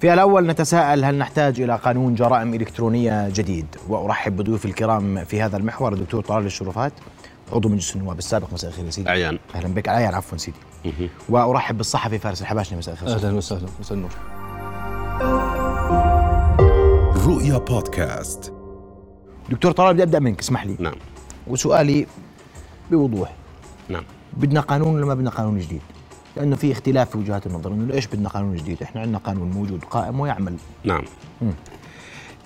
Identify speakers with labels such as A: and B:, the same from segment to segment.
A: في الأول نتساءل هل نحتاج إلى قانون جرائم إلكترونية جديد وأرحب بضيوف الكرام في هذا المحور الدكتور طلال الشرفات عضو مجلس النواب السابق مساء الخير يا سيدي
B: أعيان
A: أهلا بك عيان عفوا سيدي وأرحب بالصحفي فارس الحباشني مساء الخير
C: اهلا وسهلا مساء النور
D: رؤيا بودكاست
A: دكتور طلال بدي أبدأ منك اسمح لي
B: نعم
A: وسؤالي بوضوح
B: نعم
A: بدنا قانون ولا ما بدنا قانون جديد؟ لانه في اختلاف في وجهات النظر انه ليش بدنا قانون جديد؟ احنا عندنا قانون موجود قائم ويعمل
B: نعم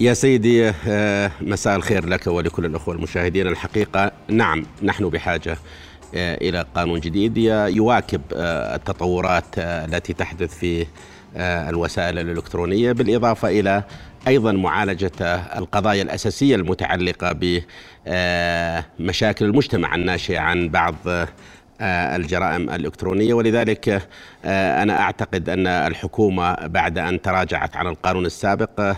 B: يا سيدي آه، مساء الخير لك ولكل الأخوة المشاهدين الحقيقة نعم نحن بحاجة آه، إلى قانون جديد ي- يواكب آه، التطورات آه، التي تحدث في آه، الوسائل الإلكترونية بالإضافة إلى أيضا معالجة آه، القضايا الأساسية المتعلقة بمشاكل المجتمع الناشئة عن بعض آه، آه، الجرائم الإلكترونية ولذلك آه، أنا أعتقد أن الحكومة بعد أن تراجعت عن القانون السابق آه،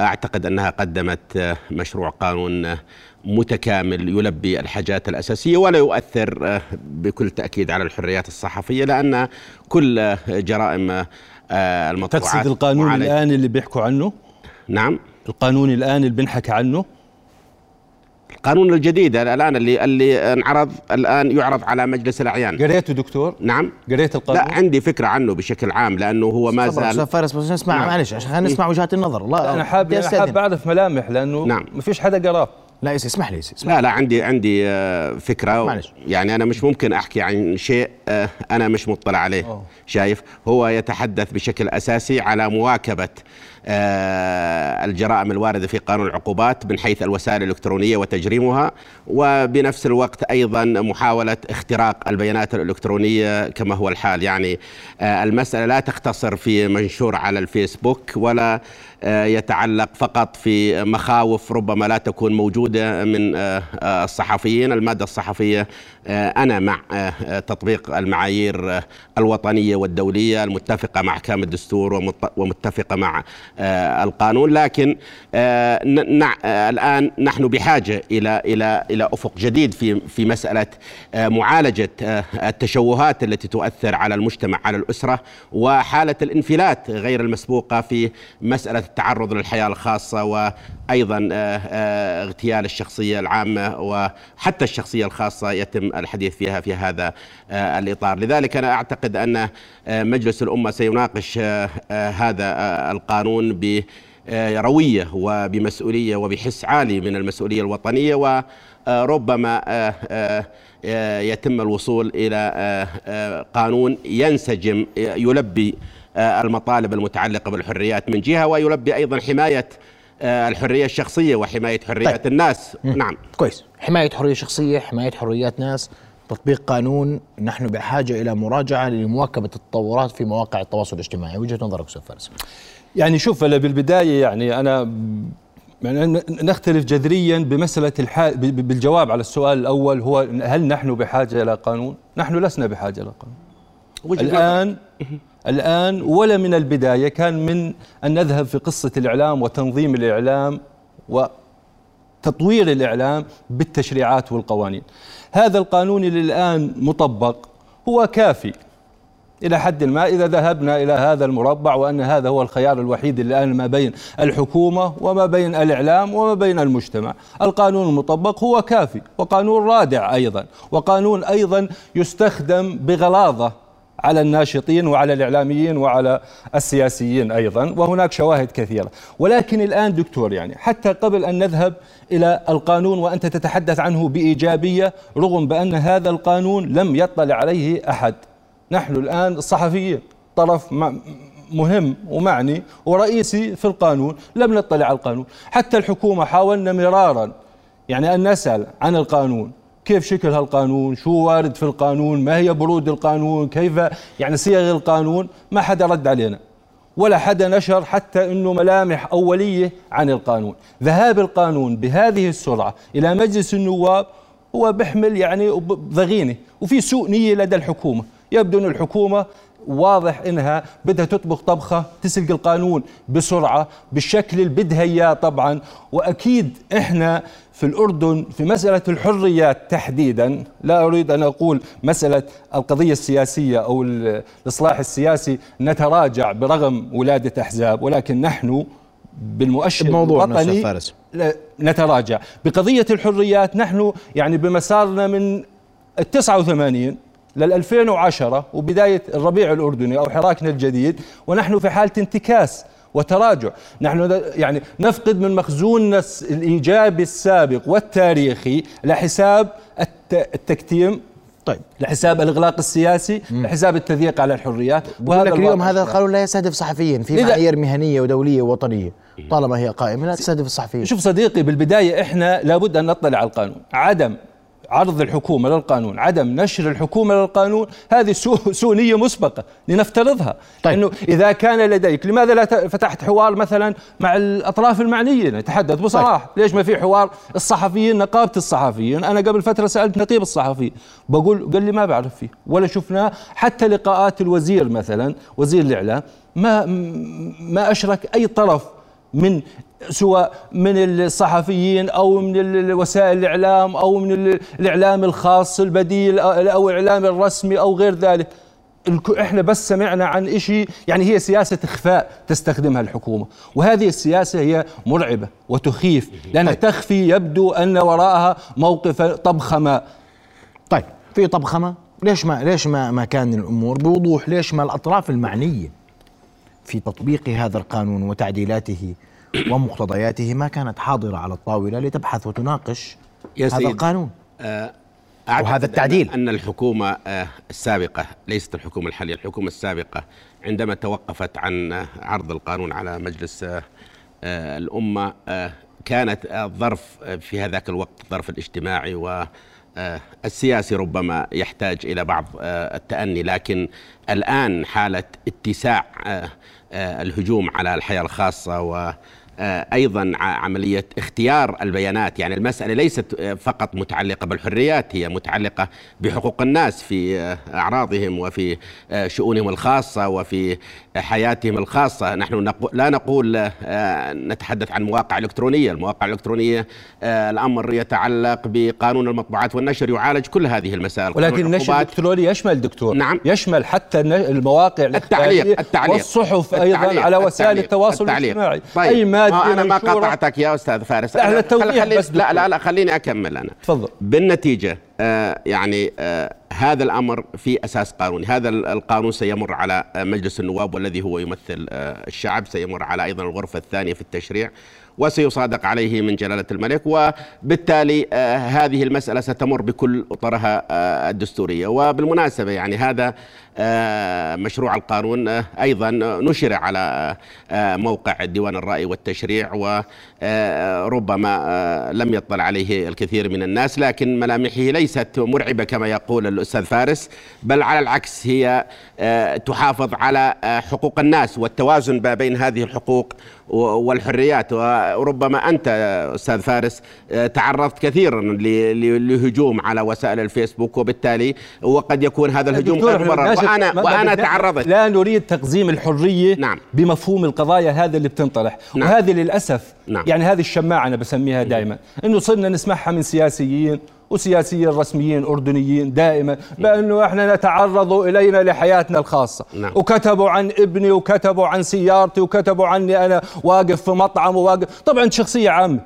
B: أعتقد أنها قدمت آه، مشروع قانون آه، متكامل يلبي الحاجات الأساسية ولا يؤثر آه، بكل تأكيد على الحريات الصحفية لأن كل آه، جرائم آه، المطبوعات
C: تقصد القانون
B: معالج-
C: الان اللي بيحكوا عنه
B: نعم
C: القانون الان اللي بنحكى عنه
B: القانون الجديد الآن اللي اللي انعرض الآن يعرض على مجلس الأعيان
C: قريته دكتور
B: نعم
C: قريت القانون
B: لا عندي فكرة عنه بشكل عام لأنه هو ما
A: خبر أستاذ
B: زال
A: فارس بس نسمع
B: نعم.
A: معلش عشان خلينا نسمع وجهات النظر لا
C: انا حابب انا حابب اعرف ملامح لانه
B: نعم.
C: ما فيش حدا قراه
A: لا يسي اسمح لي يسي اسمح
B: لا لا عندي عندي آه، فكره و...
A: معلش.
B: يعني انا مش ممكن احكي عن شيء آه، انا مش مطلع عليه
C: أوه.
B: شايف هو يتحدث بشكل اساسي على مواكبه آه، الجرائم الوارده في قانون العقوبات من حيث الوسائل الالكترونيه وتجريمها وبنفس الوقت ايضا محاوله اختراق البيانات الالكترونيه كما هو الحال يعني آه، المساله لا تختصر في منشور على الفيسبوك ولا آه، يتعلق فقط في مخاوف ربما لا تكون موجوده من آه، آه، الصحفيين الماده الصحفيه آه، انا مع آه، آه، تطبيق المعايير آه، الوطنيه والدوليه المتفقه مع كامل الدستور ومت- ومتفقه مع آه، القانون لكن آه، ن- نع- آه، الان نحن بحاجه الى الى الى افق جديد في في مساله آه، معالجه آه، التشوهات التي تؤثر على المجتمع على الاسره وحاله الانفلات غير المسبوقه في مساله التعرض للحياه الخاصه وايضا آه، آه، اغتيال الشخصيه العامه وحتى الشخصيه الخاصه يتم الحديث فيها في هذا آه، الاطار، لذلك انا اعتقد ان آه، مجلس الامه سيناقش آه، آه، هذا آه، القانون ب آه، رويه وبمسؤوليه وبحس عالي من المسؤوليه الوطنيه وربما آه، آه، آه، يتم الوصول الى آه، آه، قانون ينسجم آه، يلبي آه، المطالب المتعلقه بالحريات من جهه ويلبي ايضا حمايه آه، الحريه الشخصيه وحمايه حريات
A: طيب.
B: الناس نعم
A: لي كويس حمايه حريه شخصيه حمايه حريات ناس تطبيق قانون نحن بحاجه الى مراجعه لمواكبه التطورات في مواقع التواصل الاجتماعي وجهه نظرك استاذ فارس
C: يعني شوف أنا بالبدايه يعني انا يعني ن- نختلف جذريا بمساله الحال ب- ب- بالجواب على السؤال الاول هو هل نحن بحاجه الى قانون؟ نحن لسنا بحاجه الى قانون
B: وجهة نظر.
C: الآن الآن ولا من البداية كان من أن نذهب في قصة الإعلام وتنظيم الإعلام وتطوير الإعلام بالتشريعات والقوانين هذا القانون اللي الآن مطبق هو كافي إلى حد ما إذا ذهبنا إلى هذا المربع وأن هذا هو الخيار الوحيد اللي الآن ما بين الحكومة وما بين الإعلام وما بين المجتمع القانون المطبق هو كافي وقانون رادع أيضا وقانون أيضا يستخدم بغلاظة على الناشطين وعلى الإعلاميين وعلى السياسيين أيضا وهناك شواهد كثيرة ولكن الآن دكتور يعني حتى قبل أن نذهب إلى القانون وأنت تتحدث عنه بإيجابية رغم بأن هذا القانون لم يطلع عليه أحد نحن الآن الصحفيين طرف م- مهم ومعني ورئيسي في القانون لم نطلع على القانون حتى الحكومة حاولنا مرارا يعني أن نسأل عن القانون كيف شكل هالقانون شو وارد في القانون ما هي برود القانون كيف يعني صيغ القانون ما حدا رد علينا ولا حدا نشر حتى انه ملامح اوليه عن القانون، ذهاب القانون بهذه السرعه الى مجلس النواب هو بيحمل يعني ب- ضغينه وفي سوء نيه لدى الحكومه، يبدو ان الحكومه واضح انها بدها تطبخ طبخه تسلق القانون بسرعه بالشكل اللي بدها اياه طبعا واكيد احنا في الاردن في مساله الحريات تحديدا لا اريد ان اقول مساله القضيه السياسيه او ال- الاصلاح السياسي نتراجع برغم ولاده احزاب ولكن نحن بالمؤشر
A: بموضوعنا أستاذ
C: الوطني
A: فارس.
C: لا- نتراجع بقضية الحريات نحن يعني بمسارنا من التسعة وثمانين لل 2010 وبداية الربيع الأردني أو حراكنا الجديد ونحن في حالة انتكاس وتراجع نحن ن- يعني نفقد من مخزوننا الس- الإيجابي السابق والتاريخي لحساب الت- التكتيم
A: طيب
C: لحساب الإغلاق السياسي لحساب التضييق على الحريات
A: بقول لك اليوم
C: الواقع
A: هذا القانون لا يستهدف صحفيين في
C: لذا-
A: معايير مهنيه ودوليه ووطنيه طالما هي قائمه لا تستهدف الصحفيين
C: شوف صديقي بالبداية إحنا لابد أن نطلع على القانون عدم عرض الحكومة للقانون عدم نشر الحكومة للقانون هذه سو- سونية مسبقة لنفترضها
A: طيب.
C: أنه إذا كان لديك لماذا لا ت- فتحت حوار مثلا مع الأطراف المعنية نتحدث بصراحة ليش ما في حوار الصحفيين نقابة الصحفيين أنا قبل فترة سألت نقيب الصحفي بقول قال لي ما بعرف فيه ولا شفناه حتى لقاءات الوزير مثلا وزير الإعلام ما ما أشرك أي طرف من سواء من الصحفيين او من ال- وسائل الاعلام او من ال- الاعلام الخاص البديل او أو الاعلام الرسمي او غير ذلك الك- احنا بس سمعنا عن شيء يعني هي سياسه اخفاء تستخدمها الحكومه وهذه السياسه هي مرعبه وتخيف
B: طيب.
C: لانها تخفي يبدو ان وراءها موقف طبخ ما
A: طيب في طبخمه ليش ما ليش ما ما كان الامور بوضوح ليش ما الاطراف المعنيه في تطبيق هذا القانون وتعديلاته ومقتضياته ما كانت حاضره على الطاوله لتبحث وتناقش
B: يا
A: هذا
B: سيدي.
A: القانون
B: أعتقد
A: وهذا التعديل.
B: أن أن الحكومة آه، السابقة ليست الحكومة الحالية الحكومة السابقة عندما توقفت عن آه، عرض القانون على مجلس آه، آه، الأمة آه، كانت آه، الظرف آه، في هذاك الوقت الظرف الاجتماعي و آه، السياسي ربما يحتاج إلى بعض آه، التأني لكن الآن حالة اتساع آه، آه، الهجوم على الحياة الخاصة و آه، ايضا ع- عمليه اختيار البيانات يعني المساله ليست آه، فقط متعلقه بالحريات هي متعلقه بحقوق الناس في آه، اعراضهم وفي آه، شؤونهم الخاصه وفي آه، حياتهم الخاصه نحن نقو- لا نقول آه، آه، نتحدث عن مواقع الكترونيه المواقع الالكترونيه آه، الامر يتعلق بقانون المطبوعات والنشر يعالج كل هذه المسائل قانون
C: ولكن النشر
B: العقوبات.
C: الالكتروني يشمل دكتور
B: نعم.
C: يشمل حتى الن- المواقع الإخبارية
B: التعليق التعليق
C: والصحف ايضا
B: التعليق،
C: على وسائل
B: التعليق،
C: التواصل
B: التعليق.
C: الاجتماعي
B: طيب
C: اي ماده
B: انا ما
C: منشورة-
B: قاطعتك يا استاذ فارس
C: لا،
B: أنا-
C: على التوضيح
B: خلي-
C: بس
B: لا لا
C: دكتور.
B: لا خليني اكمل انا
C: تفضل.
B: بالنتيجه آه، يعني آه، هذا الامر في اساس قانوني هذا ال- القانون سيمر على آه، مجلس النواب والذي هو يمثل آه، الشعب سيمر على ايضا الغرفه الثانيه في التشريع وسيصادق عليه من جلاله الملك وبالتالي آه، هذه المساله ستمر بكل اطرها آه، الدستوريه وبالمناسبه يعني هذا آه، مشروع القانون آه، ايضا آه، نشر على آه، آه، موقع ديوان الراي والتشريع وربما آه، لم يطلع عليه الكثير من الناس لكن ملامحه ليست مرعبه كما يقول الاستاذ فارس بل على العكس هي آه، تحافظ على آه، حقوق الناس والتوازن ما بين هذه الحقوق و- والحريات وربما انت آه، استاذ فارس آه، تعرضت كثيرا ل- ل- لهجوم على وسائل الفيسبوك وبالتالي وقد يكون هذا الهجوم
C: دكتور،
B: غير
C: إحنا
B: مبرر
C: بنناشد-
B: وانا
C: ما
B: وانا
C: بدنا-
B: تعرضت
C: لا نريد تقزيم الحريه
B: نعم.
C: بمفهوم القضايا هذا اللي بتنطرح
B: نعم.
C: وهذه للاسف
B: نعم.
C: يعني هذه الشماعه انا بسميها دائما انه صرنا نسمعها من سياسيين وسياسيين رسميين اردنيين دائما بانه احنا نتعرض الينا لحياتنا الخاصه
B: نعم.
C: وكتبوا عن ابني وكتبوا عن سيارتي وكتبوا عني انا واقف في مطعم وواقف طبعا شخصيه عامه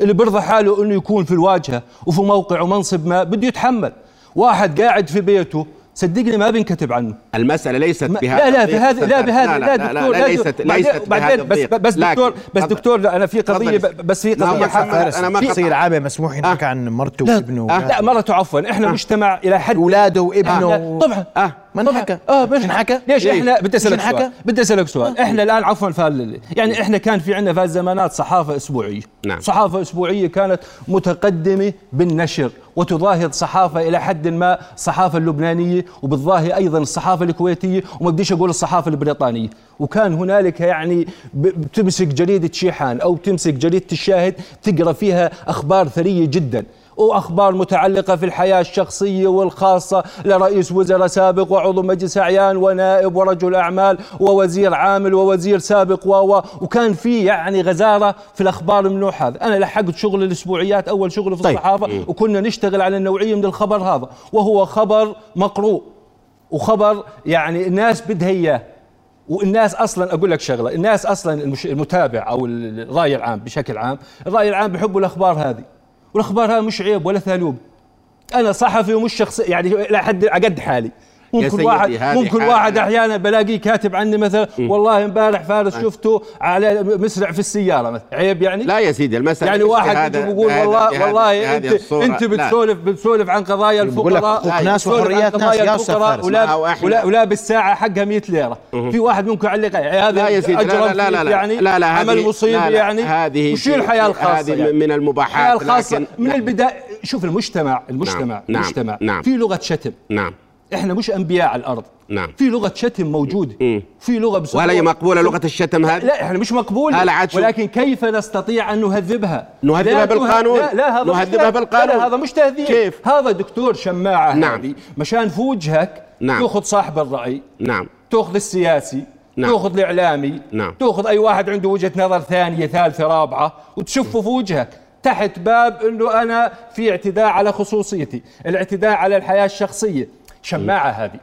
C: اللي برضى حاله انه يكون في الواجهه وفي موقع ومنصب ما بده يتحمل واحد قاعد في بيته صدقني ما بينكتب عنه
B: المساله ليست
C: ما-
B: بهذا
C: لا لا
B: الضيق،
C: بهذا
B: أستاذ
C: لا
B: فارس.
C: بهذا لا دكتور لا
B: ليست
C: بعدين-
B: ليست بهذا
C: بعدين بس
B: الضيق.
C: بس دكتور
B: لكن-
C: بس
B: تفضل.
C: دكتور لا انا في قضيه
B: تفضل.
C: ب- بس في
B: لا،
C: قضيه
B: ما حمل-
C: حق-
A: فارس
B: أنا ما
A: في
B: قطعت.
A: قصير عابه مسموح يحكي عن مرته وابنه
B: آه.
C: لا مرته عفوا احنا مجتمع الى حد
A: اولاده
C: آه،
A: وابنه
C: طبعا
B: آه.
A: ما
C: طبعاً.
A: انحكى
C: اه مش
A: انحكى
C: ليش
B: ليش؟
C: احنا بدي اسالك
A: مش انحكى؟
C: سؤال بدي اسالك سؤال احنا الان عفوا فال يعني احنا كان في عندنا في زمانات صحافه اسبوعيه
B: نعم.
C: صحافه اسبوعيه كانت متقدمه بالنشر وتضاهي الصحافه الى حد ما الصحافه اللبنانيه وبتضاهي ايضا الصحافه الكويتيه وما بديش اقول الصحافه البريطانيه وكان هنالك يعني ب- تمسك جريدة شيحان أو تمسك جريدة الشاهد تقرأ فيها أخبار ثرية جدا وأخبار متعلقة في الحياة الشخصية والخاصة لرئيس وزراء سابق وعضو مجلس أعيان ونائب ورجل أعمال ووزير عامل ووزير سابق و و- وكان في يعني غزارة في الأخبار من النوع هذا أنا لحقت شغل الأسبوعيات أول شغل في
A: طيب.
C: الصحافة وكنا نشتغل على النوعية من الخبر هذا وهو خبر مقروء وخبر يعني الناس بدها اياه والناس اصلا اقول لك شغله الناس اصلا المش... المتابع او ال- الراي العام بشكل عام الراي العام بيحبوا الاخبار هذه والاخبار هذه مش عيب ولا ثالوب انا صحفي ومش شخص يعني لا حد قد حالي ممكن
B: سيدي،
C: واحد
B: هذه
C: ممكن
B: حالة.
C: واحد احيانا بلاقيه كاتب عني مثلا والله امبارح فارس شفته على مسرع في السياره مثلا عيب يعني
B: آه. لا يا سيدي المسألة
C: يعني
B: مش
C: واحد
B: بهذا-
C: يجي بيقول
B: بهذا-
C: والله
B: بهذا-
C: والله
B: بهذه
C: انت
B: الصورة.
C: انت
B: لا.
C: بتسولف بتسولف عن قضايا
A: بقول لك
B: لا،
A: حقوق
B: يعني
A: ناس
C: بتسولف عن
A: وحريات ناس
C: قضايا
A: يا استاذ
C: الفقراء
A: فارس
B: ما هو
C: ولا
B: إحنا-
C: ولا ولا بالساعه حقها 100 ليره في واحد ممكن يعلق عليه، هذا
B: لا يا سيدي لا لا
C: أجرم
B: لا لا
C: فيك
B: لا
C: يعني
B: لا لا هذه-
C: عمل مصيب
B: لا لا،
C: يعني
B: هذه
C: وشو الحياه الخاصه
B: هذه
C: يعني؟
B: من المباحات
C: الحياه الخاصه
B: لكن-
C: من
B: نعم.
C: البدايه شوف المجتمع المجتمع
B: نعم،
C: المجتمع
B: نعم.
C: في لغه شتم
B: نعم
C: احنا مش انبياء على الارض
B: نعم.
C: في لغه شتم موجوده في لغه بسرعه
B: ولا هي مقبولة لغة الشتم هذه؟
C: لا احنا مش مقبولة
B: هلا عاد شوف.
C: ولكن كيف نستطيع ان نهذبها؟
B: نهذبها
C: لا
B: بالقانون.
C: لا, لا هذا مش
B: نهذبها
C: لا-
B: بالقانون.
C: لا هذا مش تهذيب
B: كيف؟
C: هذا دكتور شماعة
B: نعم.
C: هذه مشان في وجهك
B: نعم.
C: تاخذ صاحب الرأي
B: نعم
C: تاخذ السياسي
B: نعم.
C: تاخذ الاعلامي
B: نعم.
C: تاخذ اي واحد عنده وجهه نظر ثانيه ثالثه رابعه وتشفه في وجهك تحت باب انه انا في اعتداء على خصوصيتي، الاعتداء على الحياه الشخصيه، شماعه هذه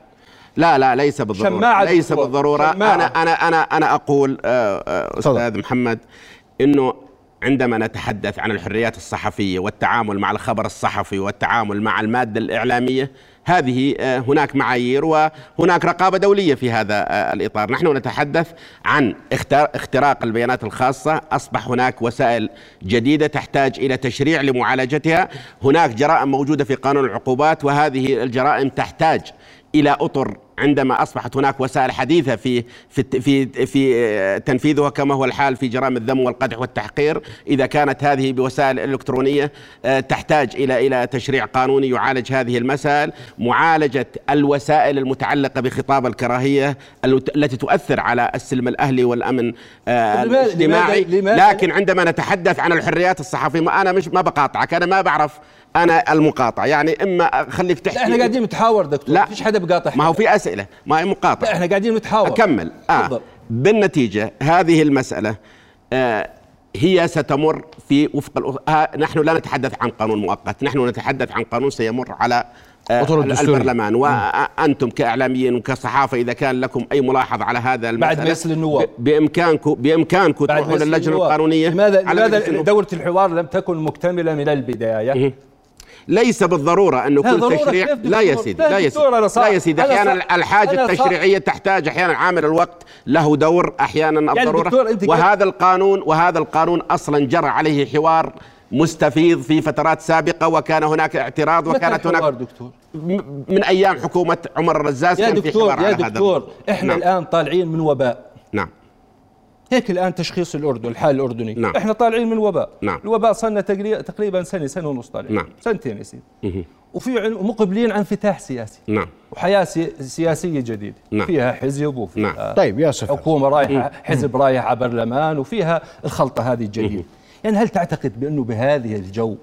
B: لا لا ليس بالضرورة
C: شماعة
B: ليس
C: دكتور.
B: بالضرورة
C: شماعة.
B: أنا أنا أنا أنا أقول آه، آه، أستاذ
A: تفضل.
B: محمد إنه عندما نتحدث عن الحريات الصحفية والتعامل مع الخبر الصحفي والتعامل مع المادة الإعلامية هذه آه، هناك معايير وهناك رقابة دولية في هذا آه، الإطار نحن نتحدث عن اختار- اختراق البيانات الخاصة أصبح هناك وسائل جديدة تحتاج إلى تشريع لمعالجتها هناك جرائم موجودة في قانون العقوبات وهذه الجرائم تحتاج الى اطر عندما اصبحت هناك وسائل حديثه في في في في آه، تنفيذها كما هو الحال في جرائم الذم والقدح والتحقير اذا كانت هذه بوسائل الكترونيه آه، تحتاج الى الى تشريع قانوني يعالج هذه المسائل معالجه الوسائل المتعلقه بخطاب الكراهيه الت- التي تؤثر على السلم الاهلي والامن آه،
C: طب لماذا-
B: الاجتماعي
C: لماذا- لماذا-
B: لكن عندما نتحدث عن الحريات الصحفيه ما- انا مش ما بقاطعك انا ما بعرف انا المقاطعه يعني اما خليك تحكي
C: لا احنا قاعدين نتحاور دكتور
B: لا.
C: مفيش حدا بقاطع
B: ما هو في اسئله ما هي
C: لا
B: مقاطعه
C: احنا قاعدين نتحاور
B: اكمل
C: تفضل.
B: آه بالنتيجه هذه المساله آه هي ستمر في وفق الأ- آه نحن لا نتحدث عن قانون مؤقت نحن نتحدث عن قانون سيمر على آه،
A: أطر
B: ال-
A: الدستوري.
B: البرلمان وانتم كاعلاميين وكصحافه اذا كان لكم اي ملاحظه على هذا المسألة
C: مجلس النواب.
B: ب- بامكانكم بامكانكم
C: بعد
B: تروحون
C: مجلس
B: للجنه
C: النواب.
B: القانونيه
C: لماذا
B: على إيه. مجلس
C: لماذا
B: النواب.
C: دورة الحوار لم تكن مكتملة من البداية؟
B: ليس بالضروره انه
C: لا،
B: كل
C: ضرورة
B: تشريع
C: كيف
B: لا يا
C: دكتور؟
B: سيدي
C: لا
B: لا يا
C: دكتور،
B: سيدي
C: أنا صار-
B: لا يا سيدي
C: أنا
B: احيانا
C: صار-
B: الحاجه
C: أنا صار-
B: التشريعيه تحتاج احيانا عامل الوقت له دور احيانا
C: يعني دكتور،
B: الضروره
C: أنت
B: وهذا القانون وهذا القانون اصلا جرى عليه حوار مستفيض في فترات سابقه وكان هناك اعتراض
C: متى
B: وكانت
C: الحوار
B: هناك
C: دكتور؟
B: م- من ايام حكومه عمر الرزاز
C: يا
B: كان في
C: دكتور
B: حوار
C: يا
B: على هذا
C: دكتور احنا
B: نعم.
C: الان طالعين من وباء
B: نعم
C: هيك الان تشخيص الاردن الحال الاردني
B: نعم.
C: احنا طالعين من وباء
B: نعم.
C: الوباء صار لنا تقري- تقريبا سنه سنه ونص طالعين
B: نعم.
C: سنتين يا سيدي وفي عن- مقبلين عن انفتاح سياسي
B: نعم
C: وحياه سي- سياسيه جديده
B: نعم.
C: فيها حزب وفيها
B: نعم.
A: طيب يا استاذ فارس.
C: حكومه رايحه حزب رايح على برلمان وفيها الخلطه هذه الجديده يعني هل تعتقد بانه بهذه الجو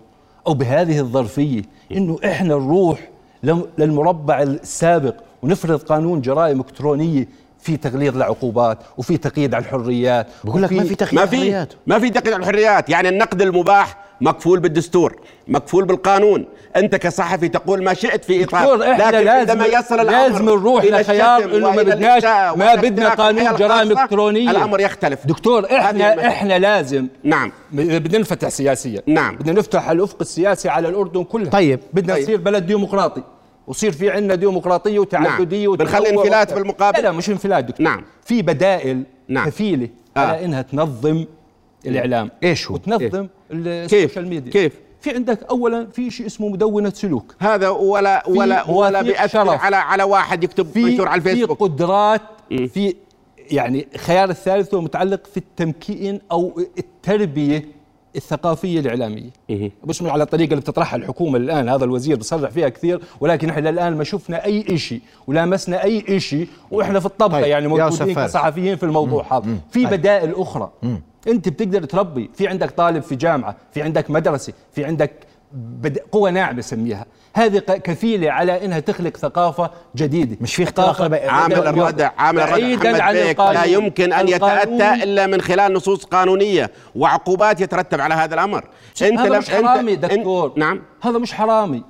C: او بهذه الظرفيه انه احنا نروح لم- للمربع السابق ونفرض قانون جرائم الكترونيه في تغليظ لعقوبات وفي تقييد على الحريات
A: بقول لك ما
C: وفي-
A: في تخيير
B: ما في
A: حريات.
B: ما في تقييد على الحريات يعني النقد المباح مكفول بالدستور مكفول بالقانون انت كصحفي تقول ما شئت في اطار
C: دكتور احنا
B: طيب، لكن
C: لازم
B: عندما يصل الامر
C: لازم نروح
B: إلى
C: لخيار
B: الشتم
C: انه ما
B: وإلى
C: بدناش
B: الإساءة
C: ما
B: وإلى
C: بدنا
B: اختراق
C: قانون
B: الحياة
C: جرائم
B: الخاصة،
C: الكترونيه
B: الامر يختلف
C: دكتور
B: هذه
C: احنا
B: المسألة.
C: احنا لازم
B: نعم
C: إذا بدنا نفتح سياسيا
B: نعم.
C: بدنا نفتح الافق السياسي على الاردن كلها
A: طيب.
C: بدنا
B: طيب.
C: نصير بلد ديمقراطي وصير في عندنا ديمقراطيه وتعدديه
B: نعم. بنخلي
C: وتنوع
B: انفلات
C: وبتاع.
B: بالمقابل؟
C: لا لا مش انفلات دكتور
B: نعم.
C: في بدائل
B: نعم.
C: كفيله
B: آه.
C: على انها تنظم الاعلام
A: إيش هو؟
C: وتنظم إيه؟
B: كيف؟
C: السوشيال ميديا
B: كيف؟
C: في عندك اولا في شيء اسمه مدونه سلوك
B: هذا ولا
C: في
B: ولا ولا
C: مواثيق
B: بيأثر
C: شرف.
B: على على واحد يكتب منشور على
C: في
B: الفيسبوك
C: قدرات في يعني خيار الثالث هو متعلق في التمكين او التربيه الثقافيه الاعلاميه بس على الطريقه اللي بتطرحها الحكومه الان هذا الوزير بصرح فيها كثير ولكن احنا الان ما شفنا اي شيء ولامسنا اي شيء واحنا في الطبقه
A: طيب،
C: يعني
A: يا
C: موجودين
A: سفاري.
C: كصحفيين في الموضوع هذا في بدائل اخرى انت بتقدر تربي في عندك طالب في جامعه في عندك مدرسه في عندك بد... قوة ناعمة بسميها هذه ق- كفيلة على انها تخلق ثقافة جديدة
A: مش في اختراق
C: ثقافة
A: لبقى-
B: عامل
C: بدائل اليوم.
B: الردع عامل الردع
C: بعيداً
B: محمد
C: عن
B: بيك لا
C: القانون.
B: يمكن ان
C: القانون
B: يتاتى الا من خلال نصوص قانونيه وعقوبات يترتب على هذا الامر
C: هذا مش حرامي
B: أنت-
C: دكتور
B: نعم
C: هذا مش حرامي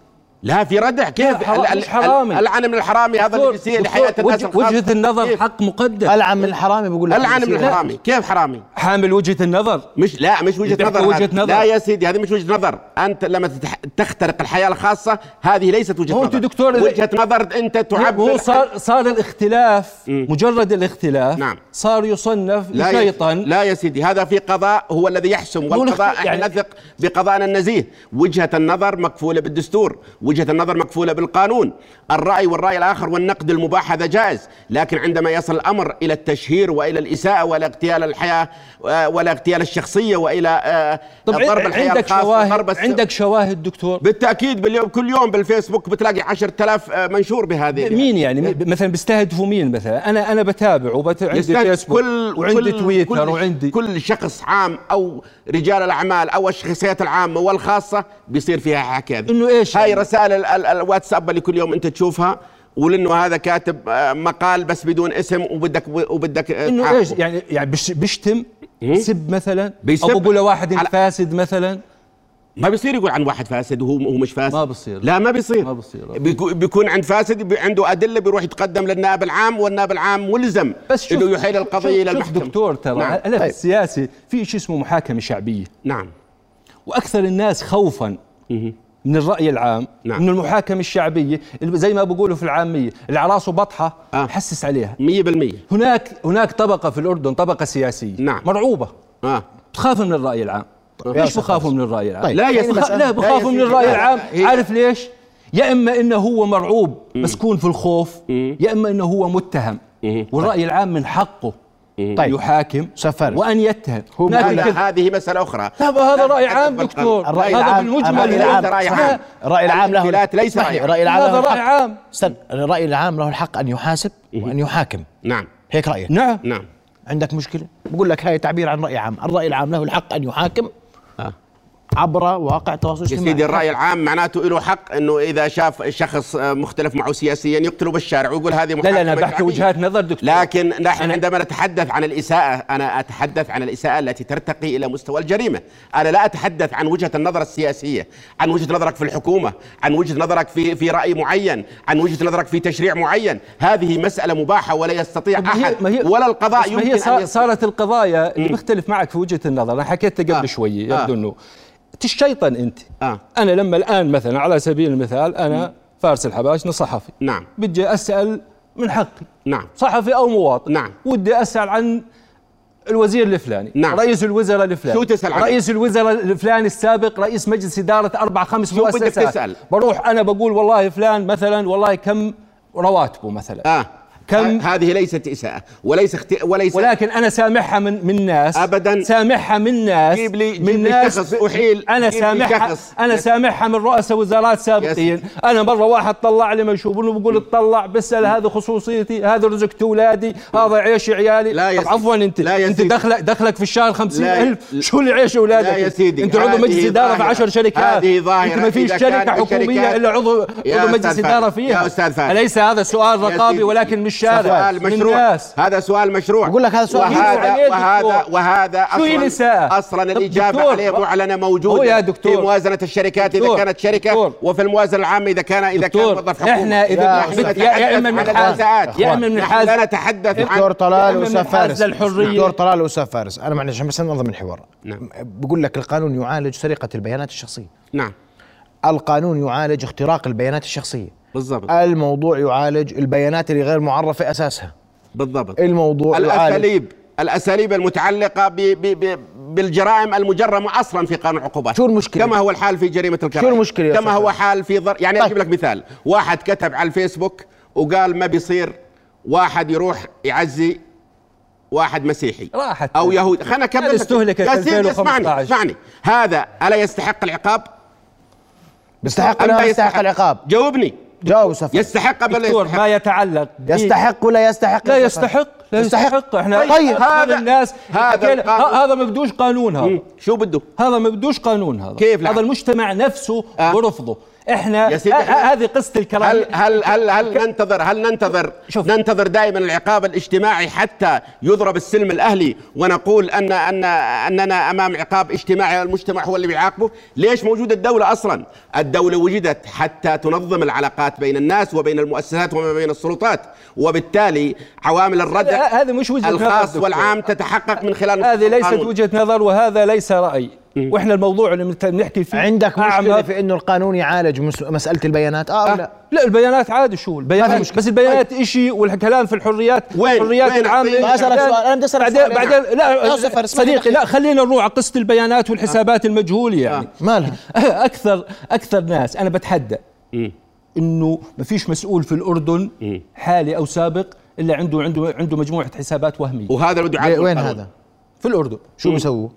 B: لا في ردع كيف
C: حرا-
B: ال- ال-
C: مش حرامي.
B: العن من الحرامي هذا اللي
C: دكتور-
B: بيصير
C: دكتور،
B: لحياه الناس
C: وجه-
B: الخاصة.
C: وجهة النظر
B: كيف؟
C: حق مقدس
A: العن من الحرامي بيقول لك
B: العن من
A: بصير.
B: الحرامي كيف حرامي
C: حامل وجهة النظر
B: مش لا مش وجهه
C: بتحكي
B: نظر
C: وجهة
B: هذا.
C: نظر.
B: لا يا سيدي هذه مش وجهه نظر انت لما تتح... تخترق الحياه الخاصه هذه ليست وجهه
C: هو
B: نظر
C: أنت دكتور-
B: وجهه نظر انت تعبر
C: هو صار صار الاختلاف مجرد الاختلاف
B: نعم.
C: صار يصنف
B: لا يا-
C: لشيطان
B: لا يا سيدي هذا في قضاء هو الذي يحسم
C: هو
B: والقضاء
C: الاخت- يعني-
B: احنا نثق بقضائنا النزيه وجهه النظر مكفوله بالدستور وجهه النظر مكفوله بالقانون الراي والراي الاخر والنقد المباح هذا جائز لكن عندما يصل الامر الى التشهير والى الاساءه والى اغتيال الحياه آه، والى اغتيال الشخصيه والى آه،
C: طب
B: ضرب الحياه
C: عندك
B: الخاصة وضرب
C: شواهد
B: الس-
C: عندك شواهد دكتور
B: بالتاكيد باليوم كل يوم بالفيسبوك بتلاقي 10000 آه، منشور بهذه
C: مين يعني مين- مثلا بيستهدفوا مين مثلا انا انا بتابع وبت... عندي
B: يستهدف
C: فيسبوك
B: كل
C: وعندي
B: كل
C: تويتر
B: كل
C: وعندي
B: كل شخص عام او رجال الاعمال او الشخصيات العامه والخاصه بيصير فيها حكي هذه
C: إنه إيش
B: هاي
C: يعني؟
B: رسائل ال- ال- الواتساب اللي كل يوم انت تشوفها ولانه هذا كاتب آه، مقال بس بدون اسم وبدك وبدك آه،
C: انه
B: تعاقبه.
C: ايش يعني يعني بش- بشتم سب مثلا
B: إيه؟ بيسب.
C: او بقول لواحد
B: على-
C: فاسد مثلا
B: ما بيصير يقول عن واحد فاسد وهو هو مش فاسد
C: ما بصير.
B: لا إيه. ما بيصير
C: ما بصير.
B: بيكو- بيكون عند فاسد بي- عنده ادله بيروح يتقدم للنائب العام والنائب العام ملزم
C: بس شوف
B: انه يحيل القضيه الى
C: شوف- شوف
B: المحكمه
C: دكتور ترى
B: نعم.
C: انا في
B: طيب.
C: السياسه في شيء اسمه محاكمه شعبيه
B: نعم
C: واكثر الناس خوفا من الراي العام
B: نعم.
C: من المحاكمه الشعبيه اللي زي ما بيقولوا في العاميه العراس وبطحه
B: آه.
C: حسس عليها
B: 100%
C: هناك هناك طبقه في الاردن طبقه سياسيه
B: نعم.
C: مرعوبه
B: اه
C: تخاف من الراي العام
A: يا
C: ليش
A: أستاذ
C: بخافوا من الراي العام
A: طيب.
B: لا يا
A: يعني بخ-
B: سيدي
C: بخ...
A: لا
C: لا
A: يا
C: بخافوا من
B: سيدي،
C: الراي
B: لا،
C: العام
B: هي-
C: عارف ليش يا اما انه هو مرعوب مسكون في الخوف يا اما انه هو متهم والراي العام من حقه
A: طيب.
C: يحاكم
A: سفر.
C: وان يتهم
A: هو
C: هناك
A: بيقول-
B: هذا
C: الكذب.
B: هذه مسألة أخرى
C: لا، هذا رأي عام
B: بالقانون.
C: دكتور.
A: الرأي
C: هذا
A: العام
C: بالمجمل
A: الرأي
B: ليس
A: العام
B: رأي
A: صح.
B: عام.
A: الرأي العام له
B: الاختلاف ليس
A: اسمح
B: رأي
A: لي،
B: عام.
A: الرأي العام
C: هذا
A: له
C: رأي
A: الحق.
C: عام.
A: استنى الرأي العام له الحق أن يحاسب وأن يحاكم
B: نعم
A: هيك رأيك
C: نعم
B: إيه. نعم
A: عندك مشكلة بقول لك هاي تعبير عن رأي عام الرأي العام له الحق أن يحاكم
B: آه.
A: عبر مواقع التواصل
B: يا
A: الاجتماعي
B: سيدي الرأي العام معناته له حق أنه إذا شاف شخص آه، مختلف معه سياسيا يقتله بالشارع ويقول هذه
C: لا لا
B: محاكمة
C: انا بحكي
B: شعبية.
C: وجهات نظر دكتور
B: لكن نحن
C: أنا-
B: عندما نتحدث عن الإساءة أنا أتحدث عن الإساءة التي ترتقي إلى مستوى الجريمة أنا لا أتحدث عن وجهة النظر السياسية عن وجهة نظرك في الحكومة عن وجهة نظرك في في رأي معين عن وجهة نظرك في تشريع معين هذه مسألة مباحة ولا يستطيع
C: طب ما هي-
B: أحد
C: ما هي-
B: ولا
C: بس
B: القضاء
C: ما
B: يمكن
C: هي صار
B: أن يستطيع.
C: صارت القضايا اللي بختلف معك في وجهه النظر انا حكيت قبل
B: آه.
C: آه. شوي
B: آه.
C: يبدو انه تشيطن انت
B: آه.
C: انا لما الان مثلا على سبيل المثال انا فارس الحباشني صحفي
B: نعم.
C: بدي اسال من حقي
B: نعم
C: صحفي او مواطن
B: نعم.
C: ودي اسال عن الوزير الفلاني
B: نعم.
C: رئيس الوزراء الفلاني
B: شو تسأل عنه؟
C: رئيس الوزراء الفلاني السابق رئيس مجلس اداره اربع خمس
B: شو بدك
C: مؤسسات
B: تسأل؟
C: بروح انا بقول والله فلان مثلا والله كم رواتبه مثلا
B: آه
C: كم-
B: ه- هذه ليست إساءة وليس اخت... وليس
C: ولكن انا سامحها من من ناس
B: أبداً.
C: سامحها من ناس
B: جيب لي- جيب
C: من
B: لي
C: ناس
B: شخص أحيل.
C: انا
B: جيب لي
C: سامحها
B: شخص.
C: انا
B: يس.
C: سامحها من رؤساء وزارات سابقين انا مره واحد طلع لي مشروب انه بقول اطلع بسال هذا خصوصيتي هذا رزقت اولادي هذا عيش عيالي
B: لا يا
C: طب
B: سيدي.
C: عفوا انت
B: لا يا
C: انت
B: سيدي.
C: دخلك دخلك في الشهر 50000
B: لا يا-
C: شو اللي عيش اولادك
B: لا يا سيدي
C: انت عضو
B: هذه
C: مجلس اداره في
B: ظاهرة.
C: 10 شركات
B: هذه ظاهرة.
C: انت ما فيش
B: إذا
C: شركه
B: كان
C: حكوميه
B: الشركات-
C: الا عضو
B: يا
C: عضو
B: أستاذ
C: مجلس
B: فهد.
C: اداره
B: يا
C: فيها
B: أستاذ فهد.
C: اليس هذا سؤال
B: يا
C: رقابي
B: سيدي.
C: ولكن من الشارع
B: سؤال
C: من
B: مشروع
C: الناس
B: هذا سؤال مشروع
A: بقول لك هذا سؤال
C: يدفع
B: وهذا
C: عليه
B: وهذا
C: الدكتور.
B: وهذا
C: شو هي
B: اصلا
C: الإساءة؟
B: اصلا
C: طب
B: الاجابه
C: دكتور،
B: عليه معلنه
C: هو
B: موجوده
C: يا دكتور.
B: في موازنه الشركات اذا
C: دكتور،
B: كانت شركه
C: دكتور.
B: وفي الموازنه العامه اذا كان اذا كان
C: دكتور
B: موظف حكومي
C: احنا اذا
B: نحن
C: بت- يا يا اما
B: نتحدث عن
C: بنحاز
B: الإساءات.
C: يا اما
B: نحن
C: بنحاز
B: لا نتحدث
A: دكتور
B: عن
A: طلال
C: من
A: وأستاذ فارس
C: حاز للحرية.
A: دكتور طلال وأستاذ فارس أنا معلش بس ننظم الحوار
B: نعم.
A: بقول لك القانون يعالج سرقة البيانات الشخصية
B: نعم
A: القانون يعالج اختراق البيانات الشخصية
B: بالضبط
A: آه، الموضوع يعالج البيانات اللي غير معرفة أساسها
B: بالضبط
A: الموضوع يعالج
B: الاساليب الاساليب المتعلقه ب ب ب بالجرائم المجرمه اصلا في قانون العقوبات
A: شو المشكلة؟
B: كما هو الحال في جريمه الكراهيه
A: المشكلة يا
B: كما
A: أستاذ
B: هو
A: فهد؟
B: حال في ضر... يعني
A: طيب.
B: اجيب لك مثال واحد كتب على الفيسبوك وقال ما بيصير واحد يروح يعزي واحد مسيحي
C: راحت
B: او يهودي خلنا اكمل
C: هذه
B: لك.
C: استهلكت
B: يا سيدي اسمعني
C: 2015.
B: اسمعني هذا الا يستحق العقاب
A: بيستحق
B: أم
A: ولا
B: لا
A: ما يستحق العقاب
B: جاوبني
A: جاوب سفر
B: يستحق ام لا
C: دكتور
B: يستحق
C: ما يتعلق ب-
A: يستحق ولا يستحق
C: لا
A: يا سفر؟
C: يستحق لا
A: يستحق.
C: يستحق احنا
A: طيب،
B: هذا-
C: هذا الناس
B: هذا
C: حكينا-
B: القانون.
C: ه- هذا ما بدوش قانون هذا
B: مم. شو بده
C: هذا ما بدوش قانون هذا
B: كيف لا؟
C: هذا المجتمع نفسه
B: آه.
C: ورفضه احنا
B: يا سيدي
C: آه،
B: إحنا-
C: آه، هذه قصه الكراهيه
B: هل هل هل هل ننتظر هل ننتظر
C: شوف.
B: ننتظر دائما العقاب الاجتماعي حتى يضرب السلم الاهلي ونقول ان ان اننا امام عقاب اجتماعي المجتمع هو اللي بيعاقبه ليش موجوده الدوله اصلا الدوله وجدت حتى تنظم العلاقات بين الناس وبين المؤسسات وما بين السلطات وبالتالي عوامل الردع
C: هذا- هذا مش وجهة نظر،
B: الخاص
C: دكتور.
B: والعام تتحقق من خلال
C: هذه ليست
B: القانون.
C: وجهه نظر وهذا ليس راي
B: إيه.
C: واحنا الموضوع اللي بنت- بنحكي فيه
A: عندك مشكله
C: أعمق.
A: في انه القانون يعالج مس- مساله البيانات
C: آه.
A: اه أو لا
C: لا البيانات عادي شو
A: ما في
C: البيانات
A: مشكلة. طيب.
C: بس البيانات شيء والكلام في الحريات
B: وين؟
C: الحريات
B: وين
C: العامه
B: أعطيني؟
A: ما أسألك
C: بعدين-
A: سؤال، أنا بدي أسألك
C: بعدين
A: سؤال.
C: بعدين
A: يا
C: لا
A: سفر، اسمعني
C: صديقي
A: دقيقة. أه.
C: لا خلينا نروح على قصه البيانات والحسابات المجهوله يعني
A: مالها
C: اكثر اكثر ناس انا بتحدى انه ما فيش مسؤول في الاردن
A: إيه.
C: حالي او سابق الا عنده عنده عنده مجموعه حسابات وهميه
B: وهذا بده يعالجه
A: وين
B: القانون.
A: هذا
C: في الاردن
A: شو بيسووا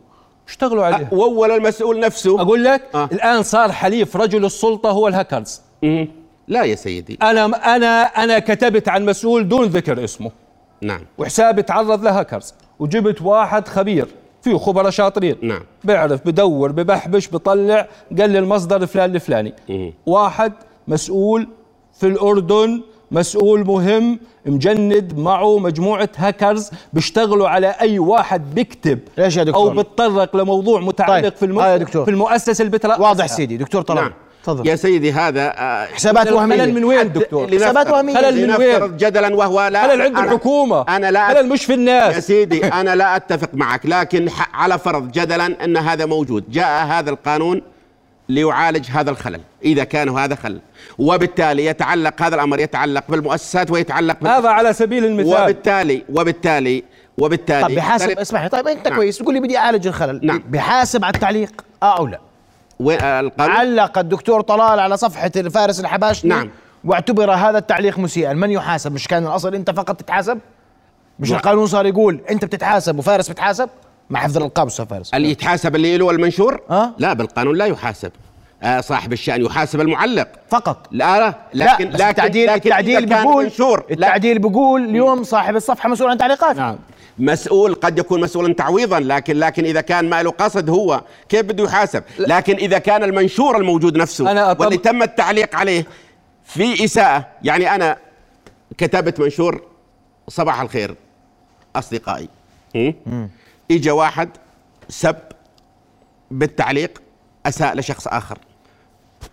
C: اشتغلوا عليها
A: أه.
B: واول المسؤول نفسه
C: اقول لك
B: آه.
C: الان صار حليف رجل السلطه هو الهاكرز
B: مم. لا يا سيدي
C: انا انا انا كتبت عن مسؤول دون ذكر اسمه
B: نعم
C: وحسابي تعرض لهاكرز وجبت واحد خبير فيه خبراء شاطرين
B: نعم.
C: بيعرف بدور ببحبش بطلع قال لي المصدر فلان الفلاني
B: مم.
C: واحد مسؤول في الاردن مسؤول مهم مجند معه مجموعه هاكرز بيشتغلوا على اي واحد بيكتب
A: ليش يا دكتور؟
C: او بتطرق لموضوع متعلق
A: طيب.
C: في, الم...
A: آه يا دكتور.
C: في المؤسسه اللي بترأسها
A: واضح سيدي دكتور طلال
B: نعم يا
A: تفضل
B: سيدي هذا آه،
A: حسابات
C: خلل- خلل من
A: وهميه
C: وين
B: حتى
C: دكتور؟
B: لنفترض-
A: حسابات وهمية.
C: خلل من وين؟
B: لنفترض جدلا وهو لا
C: خلل عند
B: أنا-
C: الحكومة
B: انا لا
C: خلل مش في الناس.
B: يا سيدي انا لا اتفق معك لكن ح- على فرض جدلا ان هذا موجود جاء هذا القانون ليعالج هذا الخلل اذا كان هذا خلل وبالتالي يتعلق هذا الامر يتعلق بالمؤسسات ويتعلق بال-
C: هذا على سبيل المثال
B: وبالتالي وبالتالي وبالتالي
A: طب بحاسب
B: طريق-
A: اسمح لي طيب انت
B: نعم.
A: كويس تقول لي بدي اعالج الخلل
B: نعم.
A: بحاسب على التعليق اه او لا
B: وين- آه، القانون
A: علق الدكتور طلال على صفحه الفارس الحباشي
B: نعم.
A: واعتبر هذا التعليق مسيئا من يحاسب مش كان الاصل انت فقط تتحاسب مش
B: نعم.
A: القانون صار يقول انت بتتحاسب وفارس بتحاسب مع حفظ الالقاب استاذ فارس
B: اللي يتحاسب اللي له المنشور
A: آه.
B: لا بالقانون لا يحاسب آه، صاحب الشأن يحاسب المعلق
A: فقط
B: لا لا لكن
A: بس التعديل
B: لكن إذا
A: التعديل
B: كان
A: بيقول
B: منشور لا
A: التعديل بيقول اليوم صاحب الصفحه مسؤول عن تعليقاته
C: نعم
B: مسؤول قد يكون مسؤولا تعويضا لكن لكن اذا كان ما له قصد هو كيف بده يحاسب لكن اذا كان المنشور الموجود نفسه
C: أنا أطل-
B: واللي تم التعليق عليه في اساءه يعني انا كتبت منشور صباح الخير اصدقائي هم؟ اجى واحد سب بالتعليق اساء لشخص اخر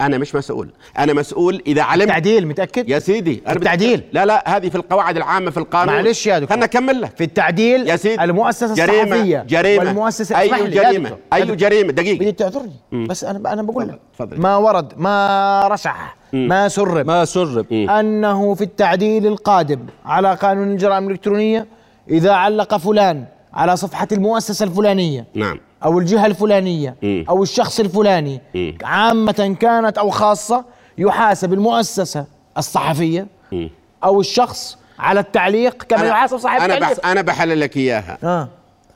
B: انا مش مسؤول انا مسؤول اذا علمت
A: التعديل متاكد
B: يا سيدي أنا
A: التعديل.
B: بتكلم. لا لا هذه في القواعد العامه في القانون
A: معلش يا دكتور.
B: خلنا اكمل لك
A: في التعديل
B: يا سيدي
A: المؤسسه
B: جريمة
A: الصحفيه
B: جريمة
A: والمؤسسه
B: أي
A: اسمح لي يا
B: جريمة
A: دكتور.
B: أي
A: بدي-
B: جريمة
A: بدي
B: دقيقة
A: تعذرني بس انا انا بقول لك
B: إيه. تفضل.
A: ما ورد ما رشح ما سرب
C: ما سرب
A: أنه في التعديل القادم على قانون الجرائم الإلكترونية إذا علق فلان على صفحة المؤسسة الفلانية
B: نعم
A: أو الجهة الفلانية
B: مم.
A: أو الشخص الفلاني
B: مم.
A: عامة كانت أو خاصة يحاسب المؤسسة الصحفية
B: مم.
A: أو الشخص على التعليق كما يحاسب صاحب
B: أنا
A: التعليق
B: بح أنا بحلل لك إياها
A: آه.